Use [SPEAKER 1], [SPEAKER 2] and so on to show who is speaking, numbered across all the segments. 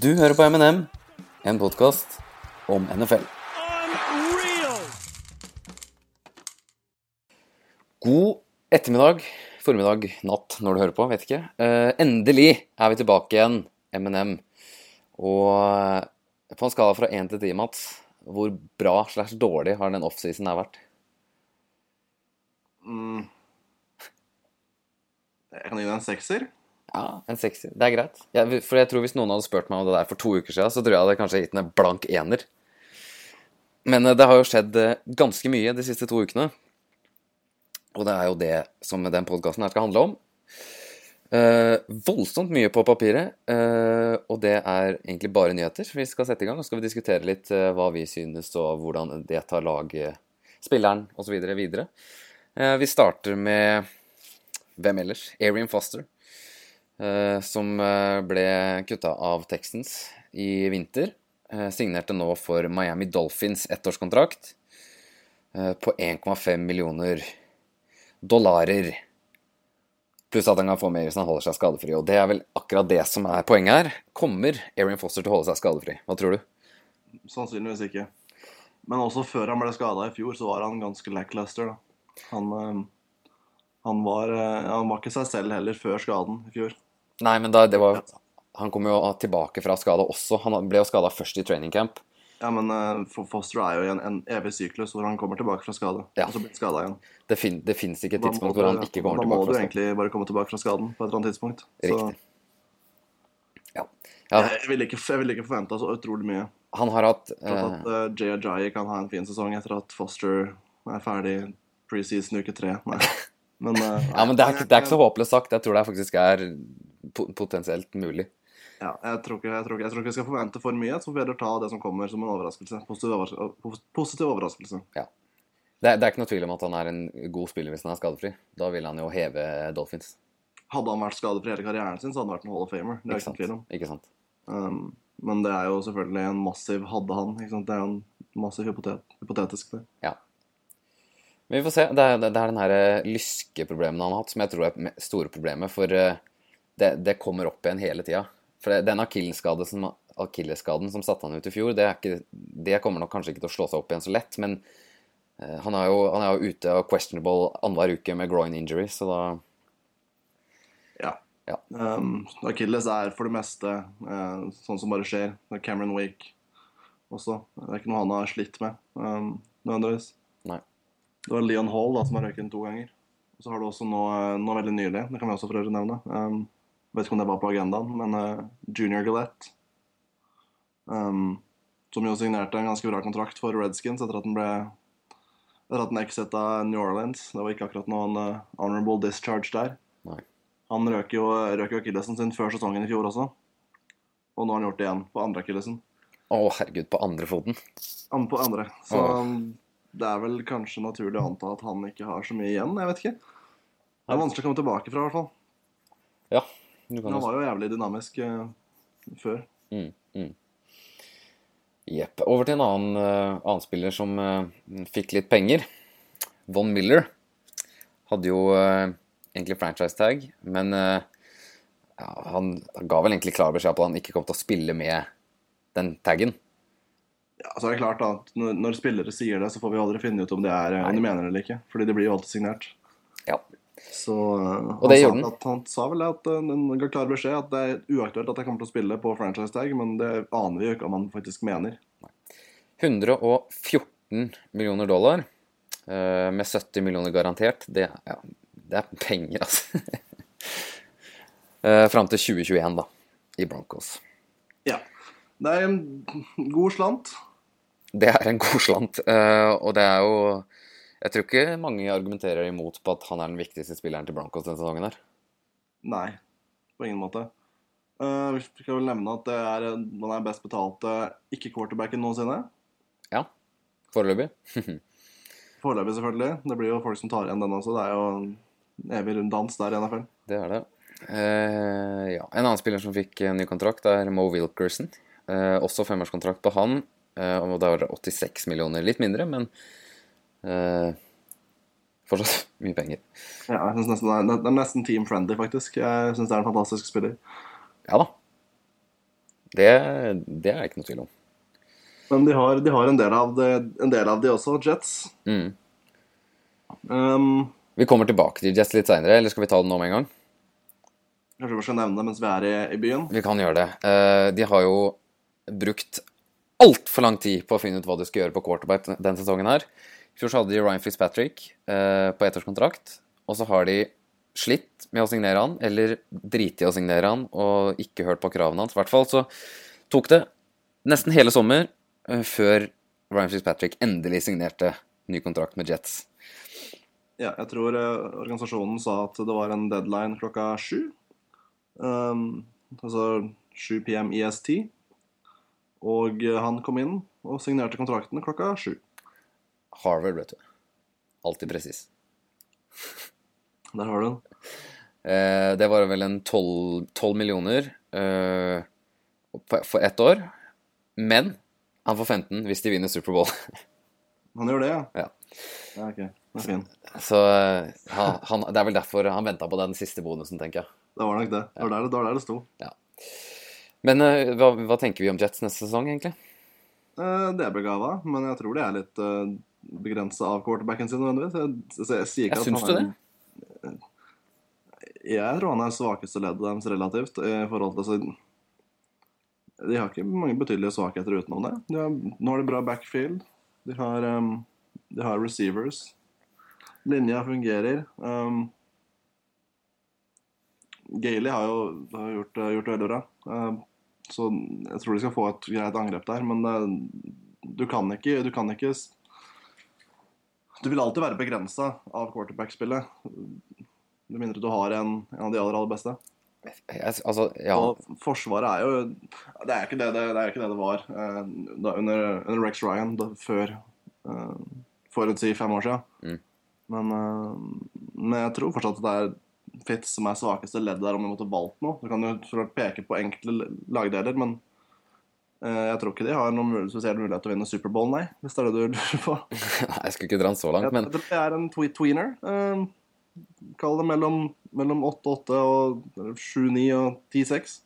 [SPEAKER 1] Du hører på M&M, en podkast om NFL. God ettermiddag, formiddag, natt når du hører på, vet ikke. Eh, endelig er vi tilbake igjen, M&M. Og eh, på en skala fra 1 til 10, Mats, hvor bra slash dårlig har den offseason her vært?
[SPEAKER 2] Jeg kan gi deg en sekser.
[SPEAKER 1] Ja, en sekser. Det er greit. Jeg, for jeg tror Hvis noen hadde spurt meg om det der for to uker siden, så tror jeg hadde kanskje gitt den en blank ener. Men eh, det har jo skjedd eh, ganske mye de siste to ukene. Og det er jo det som den podkasten her skal handle om. Eh, voldsomt mye på papiret, eh, og det er egentlig bare nyheter. Vi skal sette i gang og så skal vi diskutere litt eh, hva vi synes, og hvordan det tar laget, spilleren osv. videre. Eh, vi starter med hvem ellers? Arian Foster eh, som eh, ble kutta av Texans i vinter. Eh, signerte nå for Miami Dolphins ettårskontrakt eh, på 1,5 millioner dollarer. Pluss at han kan få mer hvis han holder seg skadefri. Og det er vel akkurat det som er poenget her. Kommer Erin Foster til å holde seg skadefri? Hva tror du?
[SPEAKER 2] Sannsynligvis ikke. Men også før han ble skada i fjor, så var han ganske lackluster, da. Han, eh, han, var, eh, han var ikke seg selv heller før skaden i fjor.
[SPEAKER 1] Nei, men da, det var Han kom jo tilbake fra skada også. Han ble jo skada først i training camp.
[SPEAKER 2] Ja, men eh, Fo- Foster er jo i en, en evig syklus hvor han kommer tilbake fra skade.
[SPEAKER 1] Ja.
[SPEAKER 2] Og så blir han skada igjen.
[SPEAKER 1] Det, fin, det fins ikke et
[SPEAKER 2] Da må
[SPEAKER 1] tidspunkt hvor han
[SPEAKER 2] du-
[SPEAKER 1] ikke kommer
[SPEAKER 2] da må
[SPEAKER 1] tilbake.
[SPEAKER 2] du
[SPEAKER 1] fra skada.
[SPEAKER 2] egentlig bare komme tilbake fra skaden på et eller annet tidspunkt.
[SPEAKER 1] Riktig. Ja.
[SPEAKER 2] Så
[SPEAKER 1] ja.
[SPEAKER 2] jeg ville ikke, jeg ville ikke forventa så utrolig mye.
[SPEAKER 1] Han har hatt
[SPEAKER 2] Jeg tror
[SPEAKER 1] eh,
[SPEAKER 2] at eh, Jay Ajayi kan ha en fin sesong etter at Foster er ferdig preseason uke tre. Nei. Men, eh,
[SPEAKER 1] Ja, men det er, ikke- det er ikke så håpløst sagt. Jeg tror det faktisk er po- potensielt mulig.
[SPEAKER 2] Ja, jeg tror, ikke, jeg, tror ikke, jeg tror ikke jeg skal forvente for mye. Så får vi heller ta det som kommer som en overraskelse. Positiv, overras pos- positiv overraskelse.
[SPEAKER 1] Det er, det er ikke noe tvil om at han er en god spiller hvis han er skadefri. Da vil han jo heve Dolphins.
[SPEAKER 2] Hadde han vært skadefri hele karrieren sin, så hadde han vært en Hall of Famer. Det
[SPEAKER 1] Ikke
[SPEAKER 2] er ikke noen
[SPEAKER 1] sant?
[SPEAKER 2] tvil om.
[SPEAKER 1] Ikke sant?
[SPEAKER 2] Um, men det er jo selvfølgelig en massiv hadde han. Ikke sant? Det er jo en massiv hypotet, hypotetisk. Det.
[SPEAKER 1] Ja. Men vi får se. Det er, det er den her eh, lyskeproblemen han har hatt, som jeg tror er det me- store problemet. For eh, det, det kommer opp igjen hele tida. For det- den akillesskade som- akilleskaden som satte han ut i fjor, det, er ikke, det kommer nok kanskje ikke til å slå seg opp igjen så lett. Men eh, han er jo, han er jo ute og questionable annenhver uke med groin injury, så da
[SPEAKER 2] Ja.
[SPEAKER 1] Ja.
[SPEAKER 2] Um, Achilles er for det meste eh, sånn som bare skjer. Det er Cameron Wake også. Det er ikke noe han har slitt med um, nødvendigvis.
[SPEAKER 1] Nei.
[SPEAKER 2] Det var Leon Hall da, som har røyket den to ganger. Og så har du også nå, eh, nå veldig nylig, det kan vi også for øvrig nevne um, Vet ikke om det var på agendaen, men eh, Junior Gillette um, Som jo signerte en ganske bra kontrakt for Redskins etter at den ble etter at den exita New Orleans. Det var ikke akkurat noen eh, honorable discharge der.
[SPEAKER 1] Nei.
[SPEAKER 2] Han røk jo, røk jo akillesen sin før sesongen i fjor også. Og nå har han gjort det igjen på andre akillesen.
[SPEAKER 1] Å, herregud, på andre foten.
[SPEAKER 2] An- På andre. Så
[SPEAKER 1] Åh.
[SPEAKER 2] um, det er vel kanskje naturlig å anta at han ikke har så mye igjen. Jeg vet ikke. Det er vanskelig å komme tilbake fra, i hvert fall.
[SPEAKER 1] Ja. Du
[SPEAKER 2] Men
[SPEAKER 1] kan
[SPEAKER 2] han
[SPEAKER 1] jo
[SPEAKER 2] var jo jævlig dynamisk eh, før.
[SPEAKER 1] Mm, mm. Jepp. Over til en annen, eh, annen spiller som eh, fikk litt penger. Von Miller. Hadde jo eh, egentlig franchise tag, men eh, ja, han ga vel egentlig klar beskjed på at han ikke kom til å spille med den taggen.
[SPEAKER 2] Ja, så er det klart da, at når, når spillere sier det, så får vi aldri finne ut om det er eh, om de mener det eller ikke. Fordi det blir jo alltid signert.
[SPEAKER 1] Ja.
[SPEAKER 2] Så eh,
[SPEAKER 1] Og det
[SPEAKER 2] han,
[SPEAKER 1] gjorde
[SPEAKER 2] sa,
[SPEAKER 1] han.
[SPEAKER 2] at, han sa vel at eh, den ga klar beskjed at det er uaktuelt at jeg kommer til å spille på franchise tag, men det aner vi jo ikke om han faktisk mener.
[SPEAKER 1] 114 millioner dollar, eh, med 70 millioner garantert. Det, er- ja, det er penger, altså. uh, Fram til 2021, da, i Broncos.
[SPEAKER 2] Ja. Det er en god slant.
[SPEAKER 1] Det er en god slant, eh, og det er jo Jeg tror ikke mange argumenterer imot på at han er den viktigste spilleren til Broncos denne sesongen her.
[SPEAKER 2] Nei, på ingen måte. Eh, vi skal vel nevne at det er, man er best betalte ikke-quarterbacken noensinne.
[SPEAKER 1] Ja, foreløpig.
[SPEAKER 2] Foreløpig, selvfølgelig. Det blir jo folk som tar igjen den også. Det er jo en evig runddans der i NFL.
[SPEAKER 1] Det er det. Eh, ja. En annen spiller som fikk en ny kontrakt, er Mo Wilkerson. Eh, også femårskontrakt på han. eh, og da var det 86 millioner. Litt mindre, men eh, fortsatt mye penger.
[SPEAKER 2] Ja, jeg synes nesten, det er- det er nesten team friendly, faktisk. Jeg syns det er en fantastisk spiller.
[SPEAKER 1] Ja da. Det, det er det ikke noe tvil om.
[SPEAKER 2] Men de har, de har en, del av det, en del av de også, Jets.
[SPEAKER 1] Mm.
[SPEAKER 2] Um,
[SPEAKER 1] Vi kommer tilbake til Jets litt seinere, eller skal vi ta den nå med en gang?
[SPEAKER 2] kanskje vi skal nevne det mens vi er i, i byen.
[SPEAKER 1] Vi kan gjøre det. Eh, De har jo brukt altfor lang tid på å finne ut hva de skal gjøre på quarterback den- den sesongen her. I fjor så hadde de Ryan Fitzpatrick eh, på ettårskontrakt, og så har de slitt med å signere han, eller driti i å signere han, og ikke hørt på kravene hans. I hvert fall så tok det nesten hele sommer eh, før Ryan Fitzpatrick endelig signerte ny kontrakt med Jets.
[SPEAKER 2] Ja, jeg tror eh, organisasjonen sa at det var en deadline klokka sju. Um, altså 7 pm IST. Og eh, han kom inn og signerte kontrakten klokka sju.
[SPEAKER 1] Harvard, vet du. Alltid presis.
[SPEAKER 2] Der har du den.
[SPEAKER 1] Eh, det var vel en 12, 12 millioner eh, for, for ett år. Men han får 15 hvis de vinner Superbowl.
[SPEAKER 2] Han gjør det, ja?
[SPEAKER 1] Ja.
[SPEAKER 2] ja ok, det er fint.
[SPEAKER 1] Så eh, han, han, det er vel derfor han venta på den siste bonusen, tenker jeg.
[SPEAKER 2] Det var nok det. Det var der det, det, var der det sto.
[SPEAKER 1] Men eh, hva, hva tenker vi om Jets neste sesong, egentlig?
[SPEAKER 2] Eh, det er begava, men jeg tror de er litt uh, begrensa av quarterbacken sin nødvendigvis. Jeg, jeg, jeg sier ikke
[SPEAKER 1] Jeg
[SPEAKER 2] at
[SPEAKER 1] syns
[SPEAKER 2] han
[SPEAKER 1] du
[SPEAKER 2] er- Eh,
[SPEAKER 1] det?
[SPEAKER 2] Jeg tror han er svakeste leddet deres relativt i forhold til altså, De har ikke mange betydelige svakheter utenom det. De har, nå har de bra backfield. De har, um, de har receivers. Linja fungerer. Um, Gailey har jo har gjort, det- gjort det veldig bra. Um, så jeg tror de skal få et greit angrep der, men eh, du kan ikke, du kan ikke s- Du vil alltid være begrensa av quarterback-spillet. Med mindre du har en, en av de aller, aller beste.
[SPEAKER 1] Jeg, altså, ja.
[SPEAKER 2] Og forsvaret er jo Det er jo ikke det det, det, er jo ikke det, det var eh, da, under, under Rex Ryan da, før eh, For å si fem år siden.
[SPEAKER 1] Mm.
[SPEAKER 2] Men, eh, men jeg tror fortsatt at det er Fitz som er svakeste leddet der, om du måtte valgt noe. Du kan jo så klart peke på enkle l- lagdeler, men eh, jeg tror ikke de har noen mul- spesiell mulighet til å vinne Superbowl, nei. Hvis det er det du lurer på.
[SPEAKER 1] Nei, jeg skulle ikke dra den så langt,
[SPEAKER 2] Jeg,
[SPEAKER 1] men
[SPEAKER 2] jeg tror det er en twe tweener. Eh, kall det mellom, mellom 8-8 og 7-9 og 10-6.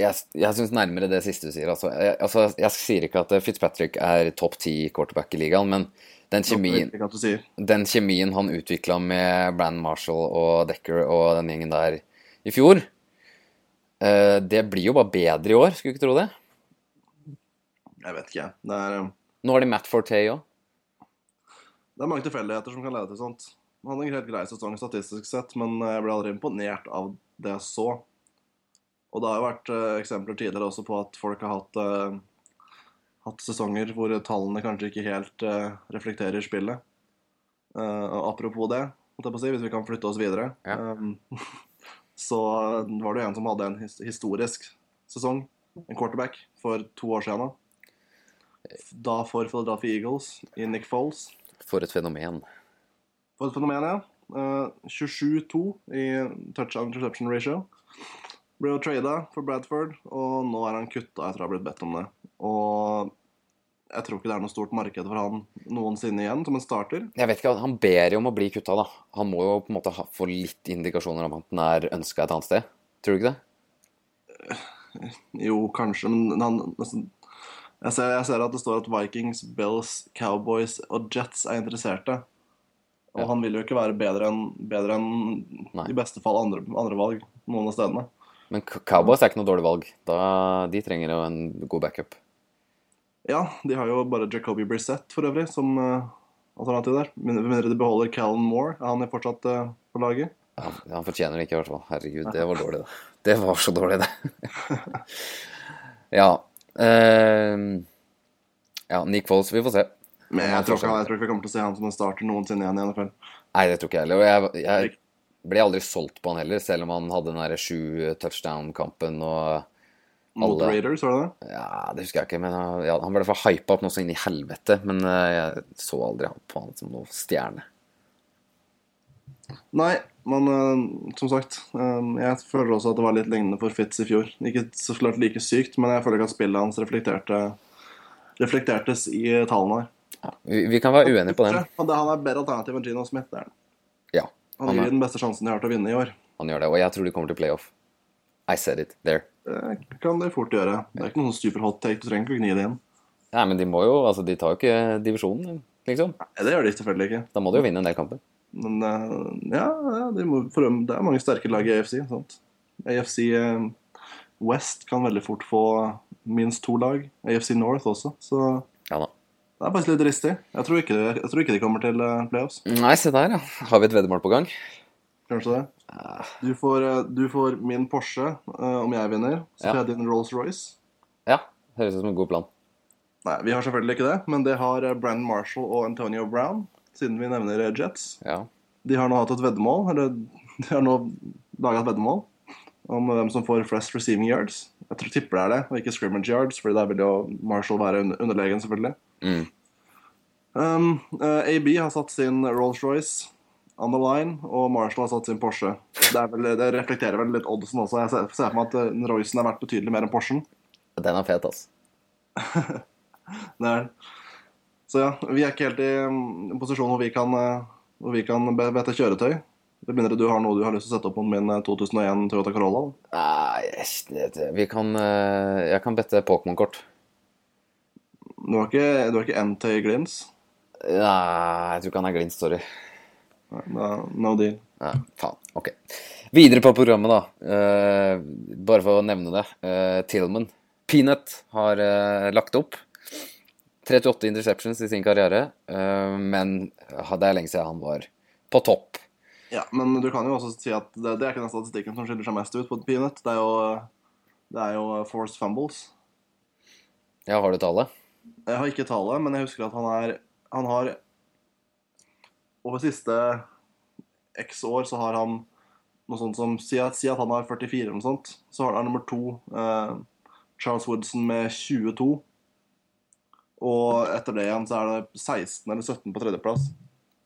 [SPEAKER 1] jeg, jeg syns nærmere det siste du sier. Altså, jeg, altså, jeg sier ikke at eh, Fitzpatrick er topp ti quarterback i ligaen, men den kjemien
[SPEAKER 2] Ikke at du sier.
[SPEAKER 1] den kjemien han utvikla med Brand Marshall og Decker og den gjengen der i fjor, eh, det blir jo bare bedre i år, skulle du ikke tro det?
[SPEAKER 2] Jeg vet ikke. Det er, eh,
[SPEAKER 1] Nå har de Matt Forte òg.
[SPEAKER 2] det er mange tilfeldigheter som kan lede til sånt. Han hadde en helt grei sesong statistisk sett, men eh, jeg ble aldri imponert av det jeg så. Og det har jo vært eh, eksempler tidligere også på at folk har hatt, eh, hatt sesonger hvor tallene kanskje ikke helt eh, reflekterer spillet. Eh, og apropos det, holdt jeg på å si, hvis vi kan flytte oss videre,
[SPEAKER 1] Ja.
[SPEAKER 2] eh, så eh, var det jo en som hadde en his historisk sesong, en quarterback, for to år siden. da. Da for Philadelphia Eagles i Nick Foles.
[SPEAKER 1] For et fenomen.
[SPEAKER 2] For et fenomen, ja. Eh, 27-2 i touchdown interception ratio. Ble jo trada for Bradford, og nå er han kutta etter å ha blitt bedt om det. Og jeg tror ikke det er noe stort marked for han noensinne igjen som en starter.
[SPEAKER 1] Jeg vet ikke, Han ber jo om å bli kutta, da. Han må jo på en måte ha, få litt indikasjoner om at han er ønska et annet sted. Tror du ikke det?
[SPEAKER 2] Jo, kanskje, men han nesten jeg ser, jeg ser at det står at Vikings, Bills, Cowboys og Jets er interesserte. Og
[SPEAKER 1] Ja.
[SPEAKER 2] han vil jo ikke være bedre enn bedre enn
[SPEAKER 1] Nei.
[SPEAKER 2] i beste fall andre, andre valg noen av stedene.
[SPEAKER 1] Men C- Cowboys er ikke noe dårlig valg. Da, de trenger jo en god backup.
[SPEAKER 2] Ja, de har jo bare Jacoby Brissett for øvrig som eh, alternativ der. Med med mindre de beholder Callum Moore, er han jo fortsatt eh, på laget.
[SPEAKER 1] Han, han fortjener det ikke, i hvert fall. Herregud, det var dårlig, det. Det var så dårlig, det. ja. ehm, ja, Nick Foles, vi får se.
[SPEAKER 2] Men
[SPEAKER 1] Han er
[SPEAKER 2] jeg tror, ikke,
[SPEAKER 1] fortsatt-
[SPEAKER 2] jeg tror ikke vi kommer til å se han som en starter noensinne igjen i NFL.
[SPEAKER 1] Nei, det tror ikke jeg heller. Og jeg, jeg ble aldri solgt på han heller, selv om han hadde den derre sju touchdown-kampen og
[SPEAKER 2] Mot
[SPEAKER 1] Alle.
[SPEAKER 2] Raiders, var det det?
[SPEAKER 1] Ja, det husker jeg ikke, men han- ja, han ble for hypa opp noe så inn i helvete. Men eh, jeg så aldri han på han som noe stjerne.
[SPEAKER 2] Nei, men eh, som sagt, eh, jeg føler også at det var litt lignende for Fitz i fjor. Ikke så klart like sykt, men jeg føler ikke at spillet hans reflekterte, reflektertes i eh, tallene her.
[SPEAKER 1] Vi, vi kan være uenige på den.
[SPEAKER 2] Han han er bedre alternativ enn Gino Smith. det er han.
[SPEAKER 1] Ja,
[SPEAKER 2] Han
[SPEAKER 1] Han er-
[SPEAKER 2] gir den beste sjansen de har til å vinne i år.
[SPEAKER 1] han gjør det. Og jeg tror de kommer til playoff. I said it there.
[SPEAKER 2] Det kan det fort gjøre. Det er ikke noen super hot take, du trenger ikke å gni det inn.
[SPEAKER 1] Nei, men de må jo Altså, de tar jo ikke divisjonen, liksom.
[SPEAKER 2] Nei, det gjør de selvfølgelig ikke.
[SPEAKER 1] Da må de jo vinne en del kamper.
[SPEAKER 2] Men eh, ja, ja, de må, for øvrig- det er mange sterke lag i AFC. Sant? AFC eh, West kan veldig fort få minst to lag. AFC North også. Så
[SPEAKER 1] Ja da.
[SPEAKER 2] det er faktisk litt ristig. Jeg tror ikke, jeg tror ikke de kommer til eh, playoffs.
[SPEAKER 1] Nei, se der, ja. Har vi et veddemål på gang?
[SPEAKER 2] Kanskje det. Du får, eh, du får min Porsche eh, om jeg vinner. Så
[SPEAKER 1] Ja.
[SPEAKER 2] får jeg din Rolls-Royce.
[SPEAKER 1] Ja. Høres ut som en god plan.
[SPEAKER 2] Nei, vi har selvfølgelig ikke det, men det har eh, Brandon Marshall og Antonio Brown, siden vi nevner eh, Jets.
[SPEAKER 1] Ja.
[SPEAKER 2] De har nå hatt et veddemål, eller de har nå laga et veddemål om hvem som får flest receiving yards. Jeg tror tipper det er det, og ikke scrimmage yards, fordi der vil jo Marshall være under- underlegen, selvfølgelig.
[SPEAKER 1] Mm.
[SPEAKER 2] Um, eh, AB har satt sin Rolls-Royce on the line, og Marshall har satt sin Porsche. Det, er vel, det reflekterer vel litt oddsen også. Jeg ser, ser for meg at eh, Roycen er verdt betydelig mer enn Porschen.
[SPEAKER 1] Den er fet, altså.
[SPEAKER 2] Det er. den. Så ja, vi er ikke helt i um, posisjon hvor vi kan, eh, hvor vi kan be- vette kjøretøy. Med mindre du har noe du har lyst til å sette opp mot min eh, 2001 Toyota Corolla. da.
[SPEAKER 1] Nei, jeg- det- vi kan eh, Jeg kan bette Pokémon-kort.
[SPEAKER 2] Du har ikke, du har ikke NT i glins?
[SPEAKER 1] Nei, jeg tror ikke han er glint, sorry.
[SPEAKER 2] Nei, da, no deal.
[SPEAKER 1] Nei, faen. Ok. Videre på programmet, da. Eh, bare for å nevne det. Eh, Tillman. Peanut har eh, lagt opp. 38 interceptions i sin karriere, eh, men ha- det er lenge siden han var på topp.
[SPEAKER 2] Ja, Men du kan jo også si at det, det er ikke den statistikken som skiller seg mest ut på et peanøtt. Det er jo, uh, det er jo forced fumbles.
[SPEAKER 1] Ja, har du tallet?
[SPEAKER 2] Jeg har ikke tallet, men jeg husker at han er Han har Over siste x år så har han noe sånt som Si at, si at han har 44 eller noe sånt, så har han nummer to eh, Charles Woodson med 22. Og etter det igjen så er det 16 eller 17 på tredjeplass.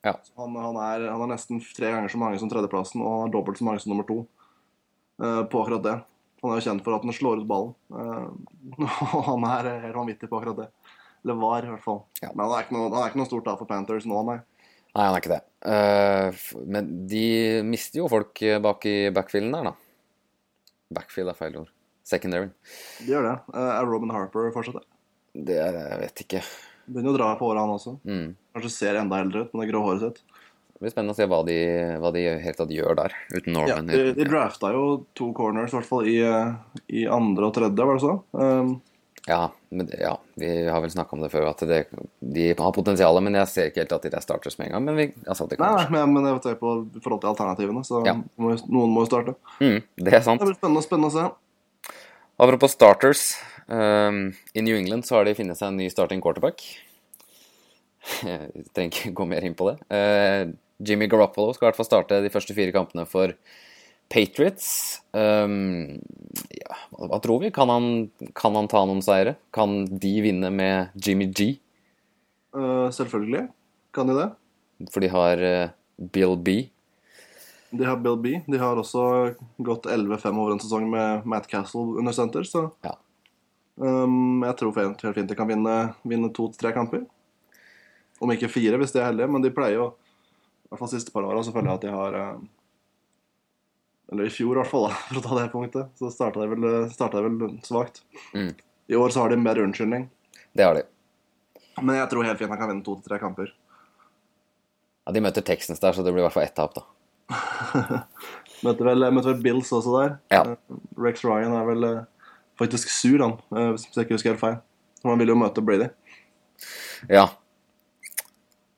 [SPEAKER 1] Ja.
[SPEAKER 2] Så Han, han, er, han er nesten tre ganger så mange som tredjeplassen, og han har dobbelt så mange som nummer to eh, på akkurat det. Han er jo kjent for at han slår ut ballen, eh, og han er helt vanvittig på akkurat det. Eller var, i hvert fall.
[SPEAKER 1] Ja.
[SPEAKER 2] Men han er ikke noe, han er ikke noe stort da for Panthers nå, nei.
[SPEAKER 1] Nei, han er ikke det. Eh, f- men de mister jo folk eh, bak i backfielden der, da. Backfield er feil ord. Secondary.
[SPEAKER 2] De gjør det. Eh, Er Robin Harper fortsatt det?
[SPEAKER 1] Det er, jeg vet ikke.
[SPEAKER 2] Begynner å dra på håret, han også.
[SPEAKER 1] Mm.
[SPEAKER 2] Kanskje ser enda eldre ut med det grå håret sitt.
[SPEAKER 1] Det blir spennende å se hva de, hva de helt tatt gjør der, uten
[SPEAKER 2] Ja,
[SPEAKER 1] Norman.
[SPEAKER 2] de, de
[SPEAKER 1] uten-
[SPEAKER 2] drafta jo to corners, i hvert fall i, eh, i andre og tredje, var det så? Um,
[SPEAKER 1] Ja, men, det- ja, vi har vel snakka om det før, at det, de har potensial, men jeg ser ikke helt at de er starters med en gang. Men vi, altså, det
[SPEAKER 2] nei,
[SPEAKER 1] kan
[SPEAKER 2] nei, men, men jeg vet ikke på i forhold til alternativene, så
[SPEAKER 1] Ja.
[SPEAKER 2] må, jo- noen må jo starte.
[SPEAKER 1] Mm, det er sant.
[SPEAKER 2] Det blir spennende, spennende å se.
[SPEAKER 1] Apropos starters. ehm, I New England så har de funnet seg en ny starting quarterback. Jeg trenger ikke gå mer inn på det. Eh, Jimmy Garoppolo skal i hvert fall starte de første fire kampene for Patriots. Ehm, ja, hva hva tror vi? Kan han, kan han ta noen seire? Kan de vinne med Jimmy G?
[SPEAKER 2] Eh, selvfølgelig kan de det.
[SPEAKER 1] For de har eh, Bill B.
[SPEAKER 2] De har Bill B. De har også gått 11-5 over en sesong med Matt Castle under senter, så
[SPEAKER 1] Ja.
[SPEAKER 2] um, jeg tror fint- helt fint de kan vinne, vinne to til tre kamper. Om ikke fire, hvis de er heldige, men de pleier jo I hvert fall siste par åra så føler jeg at de har eh, Eller i fjor, i hvert fall, da, for å ta det punktet, så starta de vel, starta de vel svakt.
[SPEAKER 1] Mm.
[SPEAKER 2] I år så har de en bedre unnskyldning,
[SPEAKER 1] Det har de.
[SPEAKER 2] men jeg tror helt fint de kan vinne to til tre kamper.
[SPEAKER 1] Ja, De møter Texans der, så det blir i hvert fall ett tap, da.
[SPEAKER 2] Møter vel, møter vel Bills også der.
[SPEAKER 1] Ja.
[SPEAKER 2] Eh, Rex Ryan er vel eh, faktisk sur, han, eh, hvis jeg ikke husker helt feil. Han vil jo møte Brady.
[SPEAKER 1] Ja.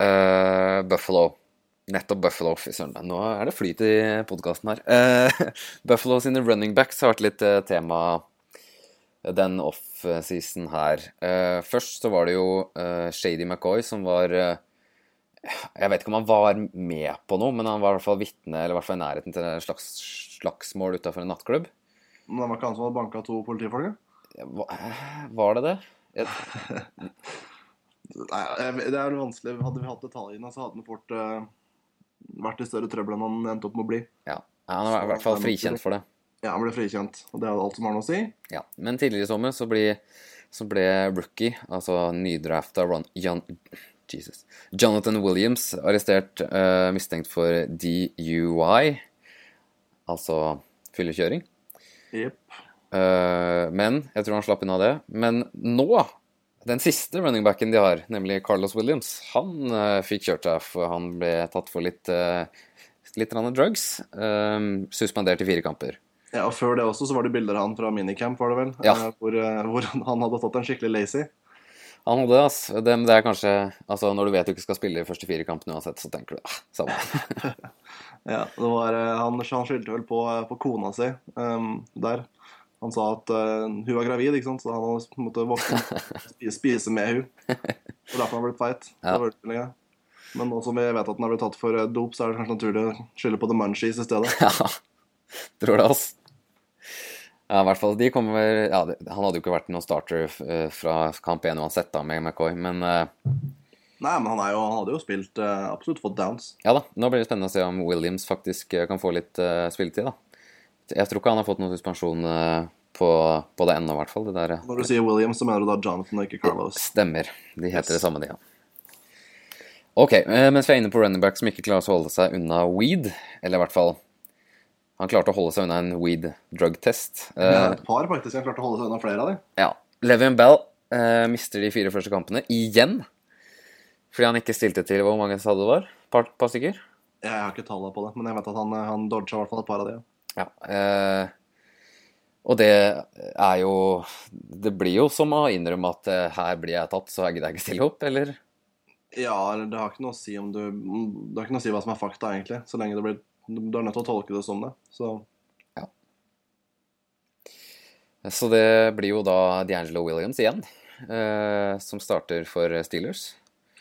[SPEAKER 1] Eh, Buffalo. Nettopp Buffalo. Fy søren, nå er det flyt i podkasten her. Eh, Buffalo sine running backs har vært litt eh, tema den offseason her. Eh, først så var det jo eh, Shady McCoy som var eh, Jeg vet ikke om han var med på noe, men han var i hvert fall vitne, eller i hvert fall i nærheten til et slags slagsmål utafor en nattklubb.
[SPEAKER 2] Men det var ikke han som hadde banka to politifolk? ja?
[SPEAKER 1] Hva, eh, var det det? Jeg,
[SPEAKER 2] Nei, jeg- det er vel vanskelig. Hadde vi hatt detaljene, så hadde han fort eh, vært i større trøbbel enn han endte opp med å bli.
[SPEAKER 1] Ja, han er i hvert fall frikjent for det.
[SPEAKER 2] Ja, Han ble frikjent, og det er jo alt som har noe å si.
[SPEAKER 1] Ja. Men tidligere i sommer så ble, så ble rookie, altså nydrafta Ron, Jan, Jesus, Jonathan Williams, arrestert eh, mistenkt for DUI, altså fyllekjøring.
[SPEAKER 2] Jepp.
[SPEAKER 1] Eh, men jeg tror han slapp unna det. Men nå, den siste running backen de har, nemlig Carlos Williams, han eh, fikk kjørt seg, for han ble tatt for litt, eh, litt grann drugs. eh, suspendert i fire kamper.
[SPEAKER 2] Ja, og Før det også så var det bilder av han fra minicamp, var det vel?
[SPEAKER 1] Ja.
[SPEAKER 2] Eh, Hvor, eh, hvor han hadde tatt en skikkelig lazy.
[SPEAKER 1] Han hadde det, ass. Det, men det er kanskje Altså, når du vet du ikke skal spille de første fire kampene uansett, så tenker du ah, samme.
[SPEAKER 2] Ja, det var, eh, han, han skyldte vel på, eh, på kona si ehm, der. Han sa at eh, hun var gravid, ikke sant? så han hadde på en måte våknet og spise, spise med hun. Det var derfor han ble feit.
[SPEAKER 1] Ja.
[SPEAKER 2] Det var unnskyldninga. Men nå som vi vet at han har blitt tatt for eh, dop, så er det kanskje naturlig å skylde på the munchies i stedet.
[SPEAKER 1] Ja, tror det, ass. Ja, i hvert fall, de kommer ja, det, Han hadde jo ikke vært noen starter eh, fra kamp én uansett, da, med McCoy, men eh,
[SPEAKER 2] Nei, men han, er jo, han hadde jo spilt eh, absolutt fått downs.
[SPEAKER 1] Ja da, nå blir det spennende å se om Williams faktisk eh, kan få litt eh, spilletid, da. Jeg tror ikke han har fått noen suspensjon eh, på, på det ennå, i hvert fall. Det der eh,
[SPEAKER 2] Når du sier Williams, så mener du da Jonathan og ikke Carlos.
[SPEAKER 1] stemmer. De heter
[SPEAKER 2] Yes.
[SPEAKER 1] det samme, de, ja. Ok, eh, mens vi er inne på running back som ikke klarer å holde seg unna weed, eller i hvert fall Han klarte å holde seg unna en weed drug test.
[SPEAKER 2] Det
[SPEAKER 1] Eh,
[SPEAKER 2] er et par faktisk, han klarte å holde seg unna flere av dem.
[SPEAKER 1] Ja. Levian Bell eh, mister de fire første kampene igjen. Fordi han ikke stilte til hvor mange sa det var? Par, par stykker?
[SPEAKER 2] Jeg har ikke tallene på det, men jeg vet at han, eh, han dodga i hvert fall et par av dem.
[SPEAKER 1] Ja. Eh, og det er jo Det blir jo som å innrømme at eh, her blir jeg tatt, så jeg gidder jeg ikke stille opp, eller?
[SPEAKER 2] Ja, eller det har ikke noe å si om du Det har ikke noe å si hva som er fakta, egentlig, så lenge det blir Du er nødt til å tolke det som det. Så
[SPEAKER 1] Så det blir jo da D'Angelo Williams igjen, eh, som starter for Steelers.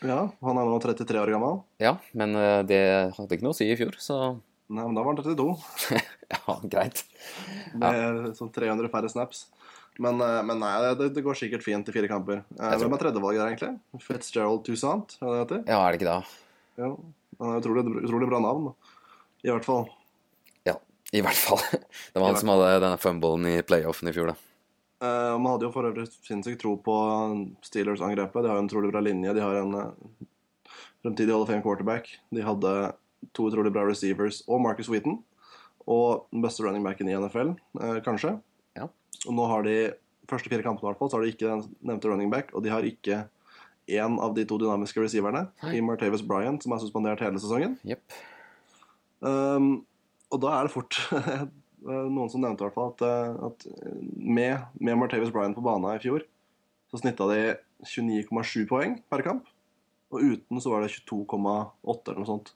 [SPEAKER 2] ja, han er nå 33 år gammel.
[SPEAKER 1] Ja, men eh, det hadde ikke noe å si i fjor, så
[SPEAKER 2] Nei, men da var han 32.
[SPEAKER 1] ja, greit.
[SPEAKER 2] Det er sånn 300 færre snaps. Men, eh, men nei, det, det går sikkert fint i fire kamper. Eh,
[SPEAKER 1] Jeg tror
[SPEAKER 2] Hvem er tredjevalget her, egentlig? Fitzgerald Toussaint, er det det heter?
[SPEAKER 1] Ja, er det ikke da?
[SPEAKER 2] Ja. Han har utrolig, utrolig bra navn, da. I hvert fall.
[SPEAKER 1] Ja, i hvert fall. Det var
[SPEAKER 2] I
[SPEAKER 1] han som hadde denne fumblen i playoffen i fjor, da.
[SPEAKER 2] Eh, man hadde jo for øvrig sinnssykt tro på Steelers-angrepet. De har jo en utrolig bra linje. De har en eh, fremtidig Hall of Fame quarterback. De hadde to utrolig bra receivers og Marcus Wheaton. Og den beste running backen i NFL, eh, kanskje.
[SPEAKER 1] Ja.
[SPEAKER 2] Og nå har de første fire kampene i hvert fall, så har de ikke den nevnte running back, og de har ikke én av de to dynamiske receiverne,
[SPEAKER 1] Nei.
[SPEAKER 2] i Martavis Bryant, som er suspendert hele sesongen.
[SPEAKER 1] Jepp.
[SPEAKER 2] Um, og da er det fort eh, noen som nevnte i hvert fall at, eh, at med, med Martavis Bryan på banen i fjor, så snitta de 29,7 poeng per kamp. Og uten så var det 22,8 eller noe sånt.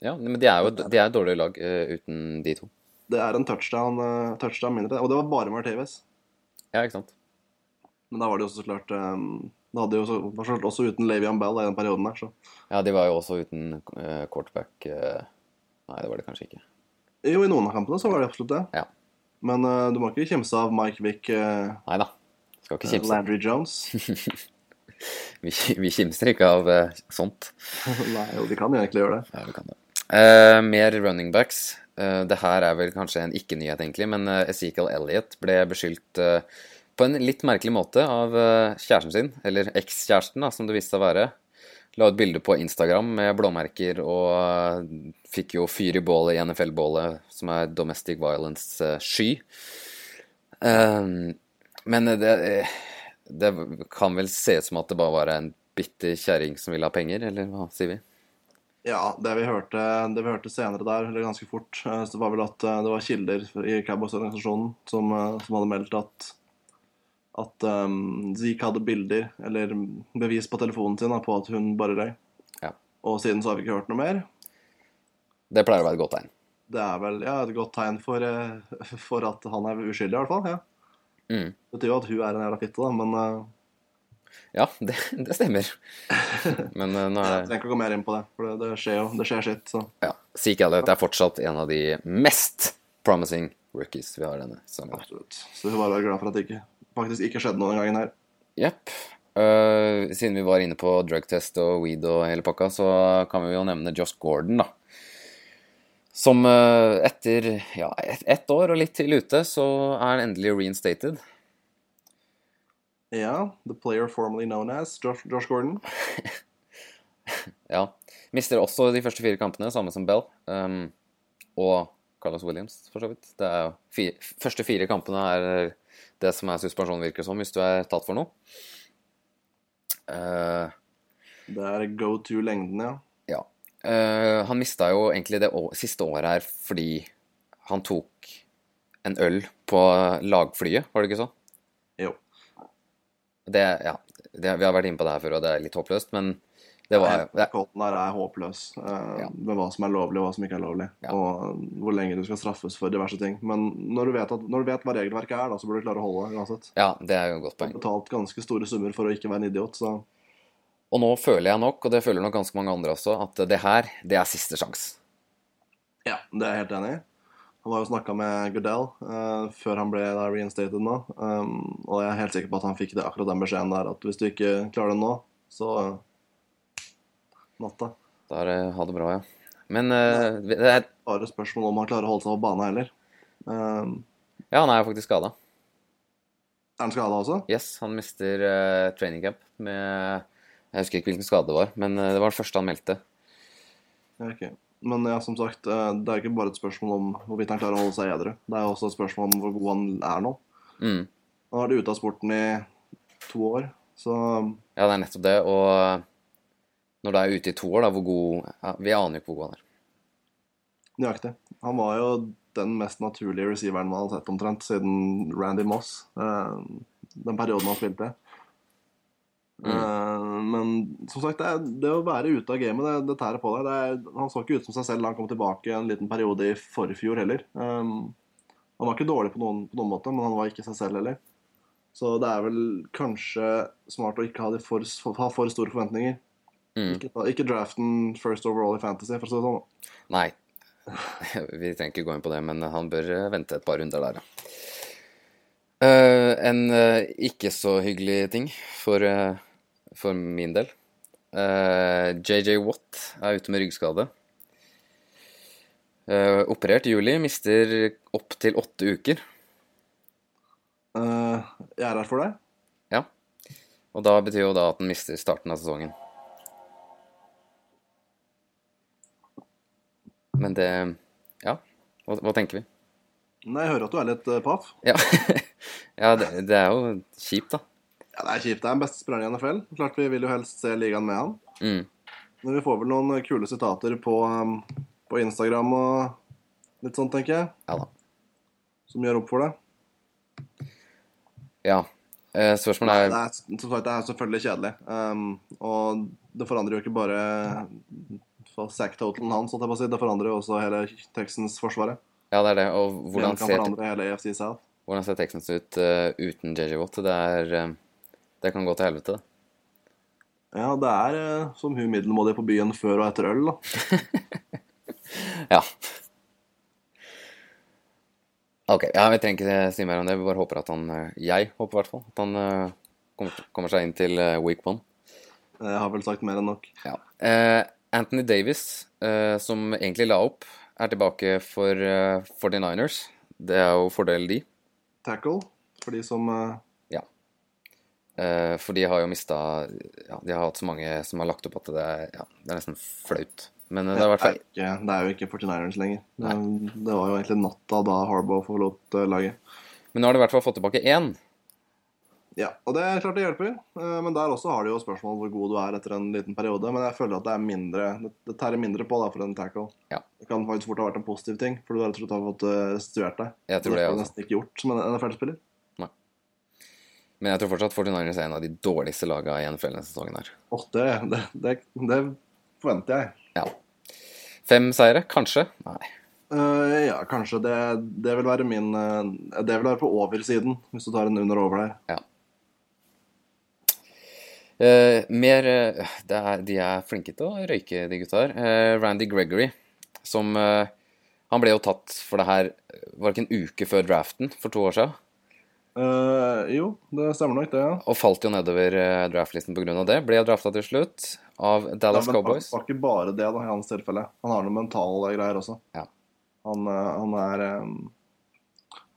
[SPEAKER 1] Ja, men de er jo de er et dårlig lag eh, uten de to.
[SPEAKER 2] Det er en touchdown, eh, touchdown mindre, og det var bare Martavis.
[SPEAKER 1] Ja, ikke sant?
[SPEAKER 2] Men da var det jo så klart um, Det hadde jo så, var så klart også uten Levian Bell i den perioden der, så
[SPEAKER 1] Ja, de var jo også uten eh, quarterback eh, Nei, det var det kanskje ikke.
[SPEAKER 2] Jo, i noen av kampene så var det absolutt det.
[SPEAKER 1] Ja.
[SPEAKER 2] Men eh, du må ikke kimse av Mike Wick, eh,
[SPEAKER 1] Nei da. Skal ikke kimse.
[SPEAKER 2] Landry Jones.
[SPEAKER 1] Vi, vi kimser ikke av eh, sånt.
[SPEAKER 2] Nei, jo, de kan jo egentlig gjøre det.
[SPEAKER 1] Ja, vi kan det. Eh, mer running backs. Eh, det her er vel kanskje en ikke-nyhet, egentlig, men eh, Ezekiel Elliot ble beskyldt eh, på en litt merkelig måte av eh, kjæresten sin, eller ekskjæresten, da, som det viste seg å være. La ut bilde på Instagram med blåmerker og eh, fikk jo fyr i bålet i NFL-bålet, som er domestic eh, violence-sky. Eh, men det, eh, det kan vel se ut som at det bare var en bitter kjerring som ville ha penger, eller hva sier vi?
[SPEAKER 2] Ja, det vi hørte, det vi hørte senere der, eller ganske fort, eh, så var vel at eh, det var kilder i Cowboys-organisasjonen som, eh, som hadde meldt at at um, Zeke hadde bilder, eller bevis på telefonen sin, da, på at hun bare røy.
[SPEAKER 1] Ja.
[SPEAKER 2] Og siden så har vi ikke hørt noe mer.
[SPEAKER 1] Det pleier å være et godt tegn.
[SPEAKER 2] Det er vel ja, et godt tegn for, eh, for at han er uskyldig, i hvert fall. ja.
[SPEAKER 1] Mm.
[SPEAKER 2] Det betyr jo at hun er en jævla fitte, da, men eh,
[SPEAKER 1] Ja, det, det stemmer. Men eh, nå
[SPEAKER 2] jeg
[SPEAKER 1] er det
[SPEAKER 2] trenger ikke å gå mer inn på det, for det, det skjer jo. Det skjer sitt, så
[SPEAKER 1] ja, Zeke Elliot er fortsatt en av de mest promising rookies vi har denne sesongen.
[SPEAKER 2] absolutt. Så vi får bare være glad for at det ikke, faktisk ikke skjedde noe den gangen her.
[SPEAKER 1] Jepp. Eh, siden vi var inne på drugtest og weed og hele pakka, så kan vi jo nevne Josh Gordon, da. Som eh, etter ja, ett ett år og litt til ute, så er han endelig reinstated.
[SPEAKER 2] Ja, the player formerly known as Josh, Josh Gordon.
[SPEAKER 1] Ja. Mister også de første fire kampene, samme som Bell. um, ehm, og Carlos Williams, for så vidt. Det er jo fi- første fire kampene er det som er suspensjon, virker som, hvis du er tatt for noe. Eh,
[SPEAKER 2] Det er go to lengden, ja.
[SPEAKER 1] ja. Eh, han mista jo egentlig det å siste året her fordi han tok en øl på lagflyet, var det ikke sånn?
[SPEAKER 2] Jo.
[SPEAKER 1] Det, ja, det, vi har vært inne på det her før, og det er litt håpløst, men det var det,
[SPEAKER 2] Kolten her er håpløs eh,
[SPEAKER 1] Ja.
[SPEAKER 2] med hva som er lovlig og hva som ikke er lovlig,
[SPEAKER 1] Ja.
[SPEAKER 2] og eh, hvor lenge du skal straffes for diverse ting. Men når du vet, at, når du vet hva regelverket er, da, så bør du klare å holde det uansett.
[SPEAKER 1] Ja, det er jo et godt
[SPEAKER 2] Du har
[SPEAKER 1] poeng.
[SPEAKER 2] betalt ganske store summer for å ikke være en idiot, så
[SPEAKER 1] Og nå føler jeg nok, og det føler nok ganske mange andre også, at det her, det er siste sjanse.
[SPEAKER 2] ja, det er jeg helt enig i. Han har jo snakka med Goodell eh, før han ble da reinstated nå, um, og jeg er helt sikker på at han fikk det, akkurat den beskjeden der, at hvis du ikke klarer det nå, så eh, natta.
[SPEAKER 1] Da er det ha det bra, ja. Men eh, det er,
[SPEAKER 2] Bare spørsmål om han klarer å holde seg på banen heller. Um,
[SPEAKER 1] ja, han er jo faktisk skada.
[SPEAKER 2] er han skada også?
[SPEAKER 1] Yes, han mister eh, training camp med Jeg husker ikke hvilken skade det var, men eh, det var den første han meldte.
[SPEAKER 2] Ja, ok. Men ja, som sagt, eh, det er ikke bare et spørsmål om hvorvidt han klarer å holde seg edru. Det er også et spørsmål om hvor god han er nå.
[SPEAKER 1] Mm.
[SPEAKER 2] Han har vært ute av sporten i to år, så
[SPEAKER 1] Ja, det er nettopp det, og når du er ute i to år, da, hvor god ja, Vi aner jo ikke hvor god han er.
[SPEAKER 2] nøyaktig. Han var jo den mest naturlige receiveren man har sett omtrent siden Randy Moss. eh, Den perioden han spilte. Eh, Men som sagt, det, er, det å være ute av gamet, det, det tærer på deg. Det er, han så ikke ut som seg selv da han kom tilbake en liten periode i forfjor heller. Um, han var ikke dårlig på noen, på noen måte, men han var ikke seg selv heller. Så det er vel kanskje smart å ikke ha, de for, ha for store forventninger.
[SPEAKER 1] Mm.
[SPEAKER 2] Ikke, ta- ikke draften first overall i Fantasy, for å si det sånn.
[SPEAKER 1] Nei. Vi trenger ikke gå inn på det, men han bør eh, vente et par runder der, ja. Eh, en eh, ikke så hyggelig ting for, eh, for min del. Eh, JJ Watt er ute med ryggskade. Eh, operert i juli, mister opptil åtte uker.
[SPEAKER 2] Eh, jeg er her for deg.
[SPEAKER 1] Ja. Og da betyr jo da at han mister starten av sesongen. Men det Ja, hva, hva tenker vi?
[SPEAKER 2] Nei, jeg hører at du er litt eh, paff.
[SPEAKER 1] Ja, ja det, det er jo kjipt, da.
[SPEAKER 2] Ja, det er kjipt. Det er den beste spilleren i NFL. Klart vi vil jo helst se ligaen med han.
[SPEAKER 1] Mm.
[SPEAKER 2] Men vi får vel noen eh, kule sitater på, um, på Instagram og litt sånn, tenker jeg.
[SPEAKER 1] Ja da.
[SPEAKER 2] Som gjør opp for det.
[SPEAKER 1] Ja. Eh,
[SPEAKER 2] Det
[SPEAKER 1] spørsmålet er
[SPEAKER 2] er, som sagt, det er selvfølgelig kjedelig. Um, og det forandrer jo ikke bare for sack-totalen hans, holdt jeg på å si. Det forandrer jo også hele Texans-forsvaret.
[SPEAKER 1] Ja, det er det. Og hvordan
[SPEAKER 2] Det kan
[SPEAKER 1] ser,
[SPEAKER 2] forandre hele EFC South.
[SPEAKER 1] hvordan ser Texans ut eh, uten JJ Watt? Det er eh, Det kan gå til helvete, det.
[SPEAKER 2] Ja, det er eh, som hun middelmådige på byen før og etter øl, da.
[SPEAKER 1] Ja. OK. Ja, vi trenger ikke si mer om det. Vi bare håper at han eh, Jeg håper i hvert fall at han eh, kommer, kommer seg inn til eh, week one.
[SPEAKER 2] Jeg har vel sagt mer enn nok.
[SPEAKER 1] Ja. Eh, Anthony Davis, eh, som egentlig la opp, er tilbake for eh, 49ers. Det er jo fordel de.
[SPEAKER 2] Tackle, for de som eh,
[SPEAKER 1] Eh, for de har jo mista ja, De har hatt så mange som har lagt opp at det er, ja, det er nesten flaut. Men eh, det er i hvert fall
[SPEAKER 2] Det er, ikke, det er jo ikke 49ers lenger. Det, det var jo egentlig natta da Harbaugh forlot eh, laget.
[SPEAKER 1] Men nå har de i hvert fall fått tilbake én.
[SPEAKER 2] Ja, og det er klart det hjelper, eh, men der også har de jo spørsmål hvor god du er etter en liten periode. Men jeg føler at det er mindre Det, det tærer mindre på da for en tackle.
[SPEAKER 1] Ja.
[SPEAKER 2] Det kan faktisk fort ha vært en positiv ting, for du har rett og slett har fått eh, restituert deg.
[SPEAKER 1] Jeg tror det,
[SPEAKER 2] har du
[SPEAKER 1] altså.
[SPEAKER 2] nesten ikke gjort som en NFL-spiller.
[SPEAKER 1] Men jeg tror fortsatt 49ers er en av de dårligste laga i NFL denne sesongen her.
[SPEAKER 2] Åh, det, det, det, det forventer jeg.
[SPEAKER 1] Ja. Fem seire, kanskje? Nei.
[SPEAKER 2] Eh, ja, kanskje det, det vil være min eh, Det vil være på oversiden, hvis du tar en under-over der.
[SPEAKER 1] Ja. Eh, mer eh, det er, De er flinke til å røyke, de gutta her. Eh, Randy Gregory, som eh, Han ble jo tatt for det her eh, Var det ikke en uke før draften for to år siden?
[SPEAKER 2] Eh, jo, det stemmer nok, det. ja
[SPEAKER 1] Og falt jo nedover eh, draftlisten pga. det. Ble drafta til slutt av Dallas
[SPEAKER 2] Ja, men
[SPEAKER 1] Cowboys.
[SPEAKER 2] Det var ikke bare det da, i hans tilfelle. Han har noen mentale greier også.
[SPEAKER 1] Ja.
[SPEAKER 2] Han, eh, han er eh,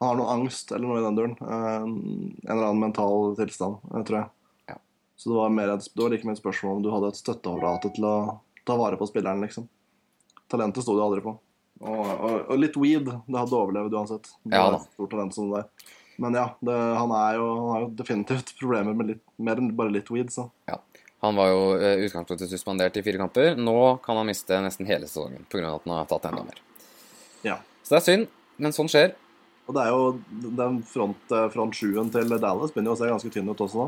[SPEAKER 2] Han har noe angst eller noe i den duren. Eh, En eller annen mental tilstand, eh, tror jeg.
[SPEAKER 1] Ja.
[SPEAKER 2] Så det var, mer et, det var like mye et spørsmål om du hadde et støtteapparat til å ta vare på spilleren, liksom. Talentet sto du aldri på. Og, og, og litt weed. Det hadde overlevd uansett. Det
[SPEAKER 1] Ja
[SPEAKER 2] var
[SPEAKER 1] da.
[SPEAKER 2] et Stort talent som det er. Men ja, det, han, er jo, han har jo definitivt problemer med litt, mer enn bare litt weed, så
[SPEAKER 1] Ja. Han var jo eh, i utgangspunktet suspendert i fire kamper. Nå kan han miste nesten hele sesongen pga. at han har tatt enda mer.
[SPEAKER 2] ja.
[SPEAKER 1] Så det er synd, men sånn skjer.
[SPEAKER 2] Og det er jo den front, eh, front sjuen til Dallas begynner jo å se ganske tynn ut også nå.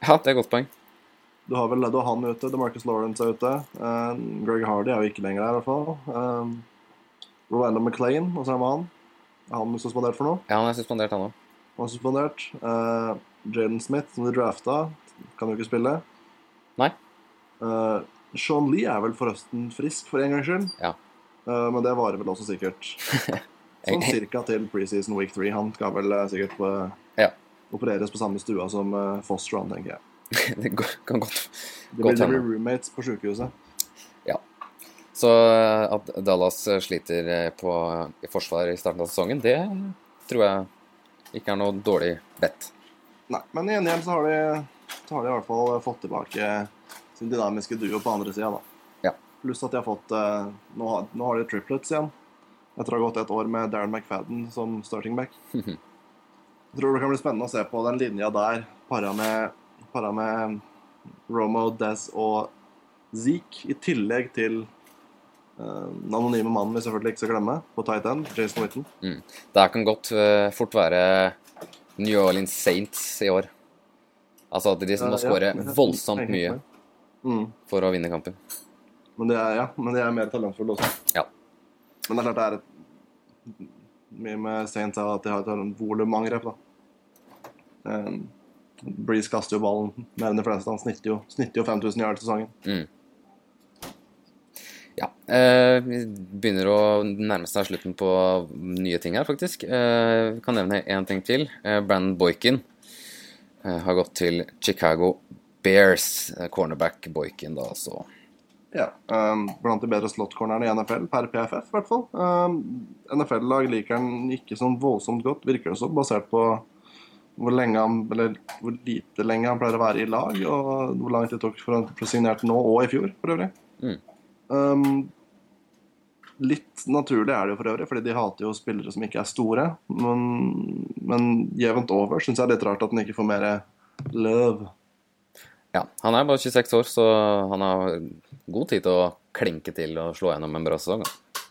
[SPEAKER 1] Ja, det er et godt poeng.
[SPEAKER 2] Du har vel du har han ute, DeMarcus Lawrence er ute. eh, Greg Hardy er jo ikke lenger der, i hvert fall. Um, Rolando McLean, og så er det han. Er han suspendert for noe?
[SPEAKER 1] Ja, han er suspendert, han òg.
[SPEAKER 2] Han er suspendert. Eh, Jaden Smith, som de drafta, kan jo ikke spille.
[SPEAKER 1] Nei.
[SPEAKER 2] Eh, Sean Lee er vel forresten frisk, for en gangs skyld.
[SPEAKER 1] Ja.
[SPEAKER 2] Eh, men det varer vel også sikkert. Sånn cirka til preseason week three. Han skal vel eh, sikkert eh,
[SPEAKER 1] Ja.
[SPEAKER 2] opereres på samme stua som eh, Foster, han, tenker jeg.
[SPEAKER 1] Det går- kan godt
[SPEAKER 2] De
[SPEAKER 1] Godt
[SPEAKER 2] blir, de
[SPEAKER 1] hende.
[SPEAKER 2] blir roommates på sjukehuset.
[SPEAKER 1] Så eh, at Dallas eh, sliter eh, på i forsvar i starten av sesongen, det tror jeg ikke er noe dårlig vett.
[SPEAKER 2] Nei, men i gjengjeld så har de, så har de i hvert fall eh, fått tilbake eh, sin dynamiske duo på andre sida, da.
[SPEAKER 1] Ja.
[SPEAKER 2] Pluss at de har fått eh, nå, har, nå har de triplets igjen. Etter å ha gått et år med Darren McFadden som starting back. Jeg tror det kan bli spennende å se på den linja der, para med, para med Romo, Dez og Zeke, i tillegg til eh, den anonyme mannen vi selvfølgelig ikke skal glemme, på tight end, Jason Whitten.
[SPEAKER 1] Det her kan godt eh, fort være New Orleans Saints i år. Altså at de liksom må
[SPEAKER 2] Eh, Ja,
[SPEAKER 1] skåre
[SPEAKER 2] men-
[SPEAKER 1] voldsomt mye
[SPEAKER 2] Mm.
[SPEAKER 1] for å vinne kampen.
[SPEAKER 2] Men de er, ja, men de er mer talentfulle også.
[SPEAKER 1] Ja.
[SPEAKER 2] Men det er klart det er et, mye med Saints er at de har et talent- volumangrep, da. Um, Breeze kaster jo ballen mer enn de fleste. Han snitter jo, snitter jo 5000 yards i sesongen.
[SPEAKER 1] Ja. Eh, vi begynner å nærme seg slutten på nye ting her, faktisk. Eh, vi kan nevne én ting til. Eh, Brandon Boykin eh, har gått til Chicago Bears. Eh, cornerback Boykin, da, altså.
[SPEAKER 2] Ja. Um, blant de bedre slot-cornerne i NFL, per PFF i hvert fall. Um, NFL-lag liker han ikke sånn voldsomt godt, virker det som, basert på hvor, lenge han, eller, hvor lite lenge han pleier å være i lag, og hvor lang tid det tok for han ble signert nå og i fjor, for øvrig.
[SPEAKER 1] Mm.
[SPEAKER 2] Um, litt naturlig er det jo for øvrig, fordi de hater jo spillere som ikke er store. Men, men jevnt over syns jeg det er litt rart at han ikke får mer love.
[SPEAKER 1] Ja, han er bare 26 år, så han har god tid til å klinke til og slå gjennom en bra sesong. da.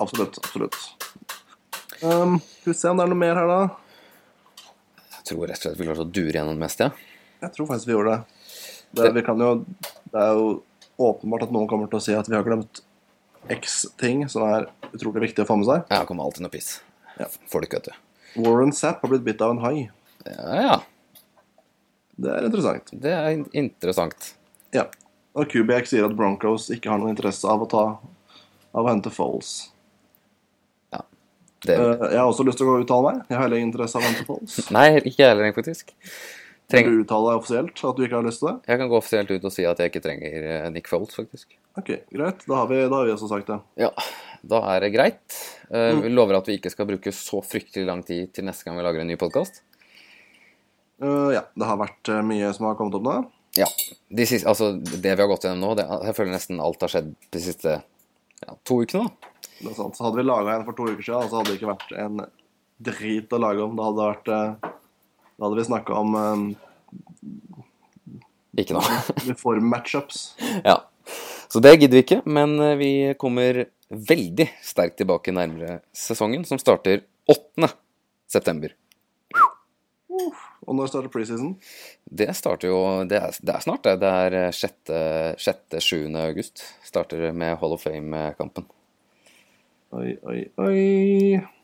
[SPEAKER 2] Absolutt. absolutt. Um, skal vi se om det er noe mer her, da.
[SPEAKER 1] Jeg tror rett og slett vi klarte å dure gjennom det meste. Ja.
[SPEAKER 2] Jeg tror faktisk vi gjorde det. Det, vi kan jo, det er jo åpenbart at noen kommer til å si at vi har glemt x ting som er utrolig viktig å få med seg.
[SPEAKER 1] Ja, det kommer alltid noe piss.
[SPEAKER 2] Ja.
[SPEAKER 1] Folk, vet du.
[SPEAKER 2] Warren Zapp har blitt bitt av en hai.
[SPEAKER 1] Ja, ja.
[SPEAKER 2] Det er interessant.
[SPEAKER 1] Det er in- interessant.
[SPEAKER 2] Ja. Og QBX sier at Broncos ikke har noen interesse av å, ta, av å hente Foles.
[SPEAKER 1] Ja. Det,
[SPEAKER 2] Eh, jeg har også lyst til å gå og uttale meg. Jeg har heller ingen interesse av å hente Foles.
[SPEAKER 1] Nei, ikke jeg heller, faktisk.
[SPEAKER 2] Vil
[SPEAKER 1] Trenger,
[SPEAKER 2] du uttale deg offisielt at du ikke har lyst til det?
[SPEAKER 1] jeg kan gå offisielt ut og si at jeg ikke trenger eh, Nick Foles, faktisk.
[SPEAKER 2] Ok, Greit. Da har vi, da har vi også sagt det.
[SPEAKER 1] Ja, da er det greit. Eh, Vi lover at vi ikke skal bruke så fryktelig lang tid til neste gang vi lager en ny podkast.
[SPEAKER 2] Eh, ja, Det har vært eh, mye som har kommet opp nå.
[SPEAKER 1] Ja. De siste, altså, det vi har gått gjennom nå, det, jeg føler nesten alt har skjedd de siste ja, to ukene. da.
[SPEAKER 2] Det er sant. Så hadde vi laga en for to uker siden, så hadde det ikke vært en drit å lage om. Da hadde, det vært, eh, da hadde vi snakka om eh,
[SPEAKER 1] Ikke nå.
[SPEAKER 2] reform-matchups.
[SPEAKER 1] ja. Så det gidder vi ikke, men eh, vi kommer veldig sterkt tilbake nærmere sesongen, som starter 8. september.
[SPEAKER 2] Og når starter preseason?
[SPEAKER 1] Det starter jo Det er, det er snart, det. Det er eh, 6. 6. 7. august. Starter med Hall of Fame-kampen.
[SPEAKER 2] Oi, oi, oi.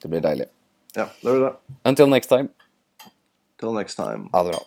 [SPEAKER 1] Det blir deilig.
[SPEAKER 2] Ja, det blir det.
[SPEAKER 1] Until next time.
[SPEAKER 2] Till next time.
[SPEAKER 1] Ha det bra.